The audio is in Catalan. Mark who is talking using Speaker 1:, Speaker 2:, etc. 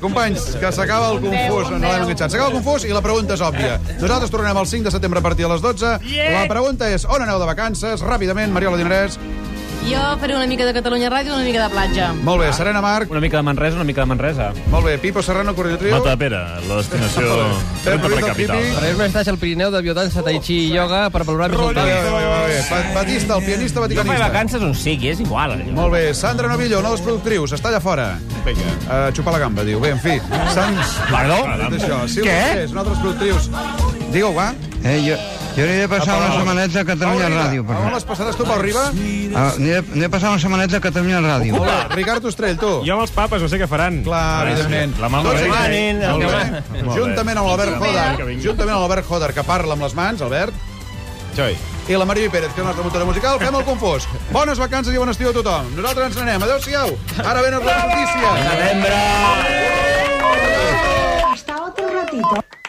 Speaker 1: Companys, que s'acaba el confús. No l'hem enganxat. S'acaba el confús i la pregunta és òbvia. Nosaltres tornarem el 5 de setembre a partir de les 12. La pregunta és on aneu de vacances? Ràpidament, Mariola Dinarès.
Speaker 2: Jo faré una mica de Catalunya Ràdio i una mica de platja.
Speaker 1: Molt bé, Serena Marc.
Speaker 3: Una mica de Manresa, una mica de Manresa.
Speaker 1: Molt bé, Pipo Serrano, Correo Trio.
Speaker 4: Mata de Pere, la destinació...
Speaker 1: Pep
Speaker 4: Ruta
Speaker 1: Ruiz
Speaker 4: per
Speaker 1: del
Speaker 4: capital.
Speaker 1: Pipi.
Speaker 5: Per mi m'estàs al Pirineu de biodança, tai chi i ioga per valorar més
Speaker 1: Molt
Speaker 5: el
Speaker 1: bé,
Speaker 5: talent.
Speaker 1: molt bé, molt bé. Pa- Batista, el pianista
Speaker 3: Jo faré
Speaker 1: vaticanista.
Speaker 3: vacances on sigui, és igual. eh? allò.
Speaker 1: Molt bé, Sandra Novillo, una de les productrius, està allà fora. Vinga. A xupar la gamba, diu. Bé, en fi. Sant...
Speaker 3: Perdó?
Speaker 1: Tot això. Sí, Què? Una de les productrius. Digue-ho, va.
Speaker 6: Eh, jo, jo aniré a passar una setmaneta a Catalunya
Speaker 1: Riba.
Speaker 6: Ràdio. Per
Speaker 1: On
Speaker 6: favor.
Speaker 1: les passaràs tu, Pau Riba?
Speaker 6: Ah, Aniré, aniré a passar una setmaneta a Catalunya Ràdio.
Speaker 1: Hola, Ricard Ostrell, tu.
Speaker 4: Jo amb els papes no sé què faran.
Speaker 1: Clar, evidentment.
Speaker 4: Ah, La mà
Speaker 1: Tots
Speaker 4: al rei.
Speaker 1: manin, els
Speaker 4: Molt bé.
Speaker 1: que manen.
Speaker 4: Molt bé.
Speaker 1: Juntament amb l'Albert
Speaker 4: Que
Speaker 1: Joder,
Speaker 4: vingui.
Speaker 1: juntament amb l'Albert Joder, que parla amb les mans, Albert, i la Maria Pérez, que és la nostra muntada musical, fem el confós. Bones vacances i bon estiu a tothom. Nosaltres ens n'anem. Adéu-siau. Ara venen les notícies.
Speaker 7: Hasta otro ratito.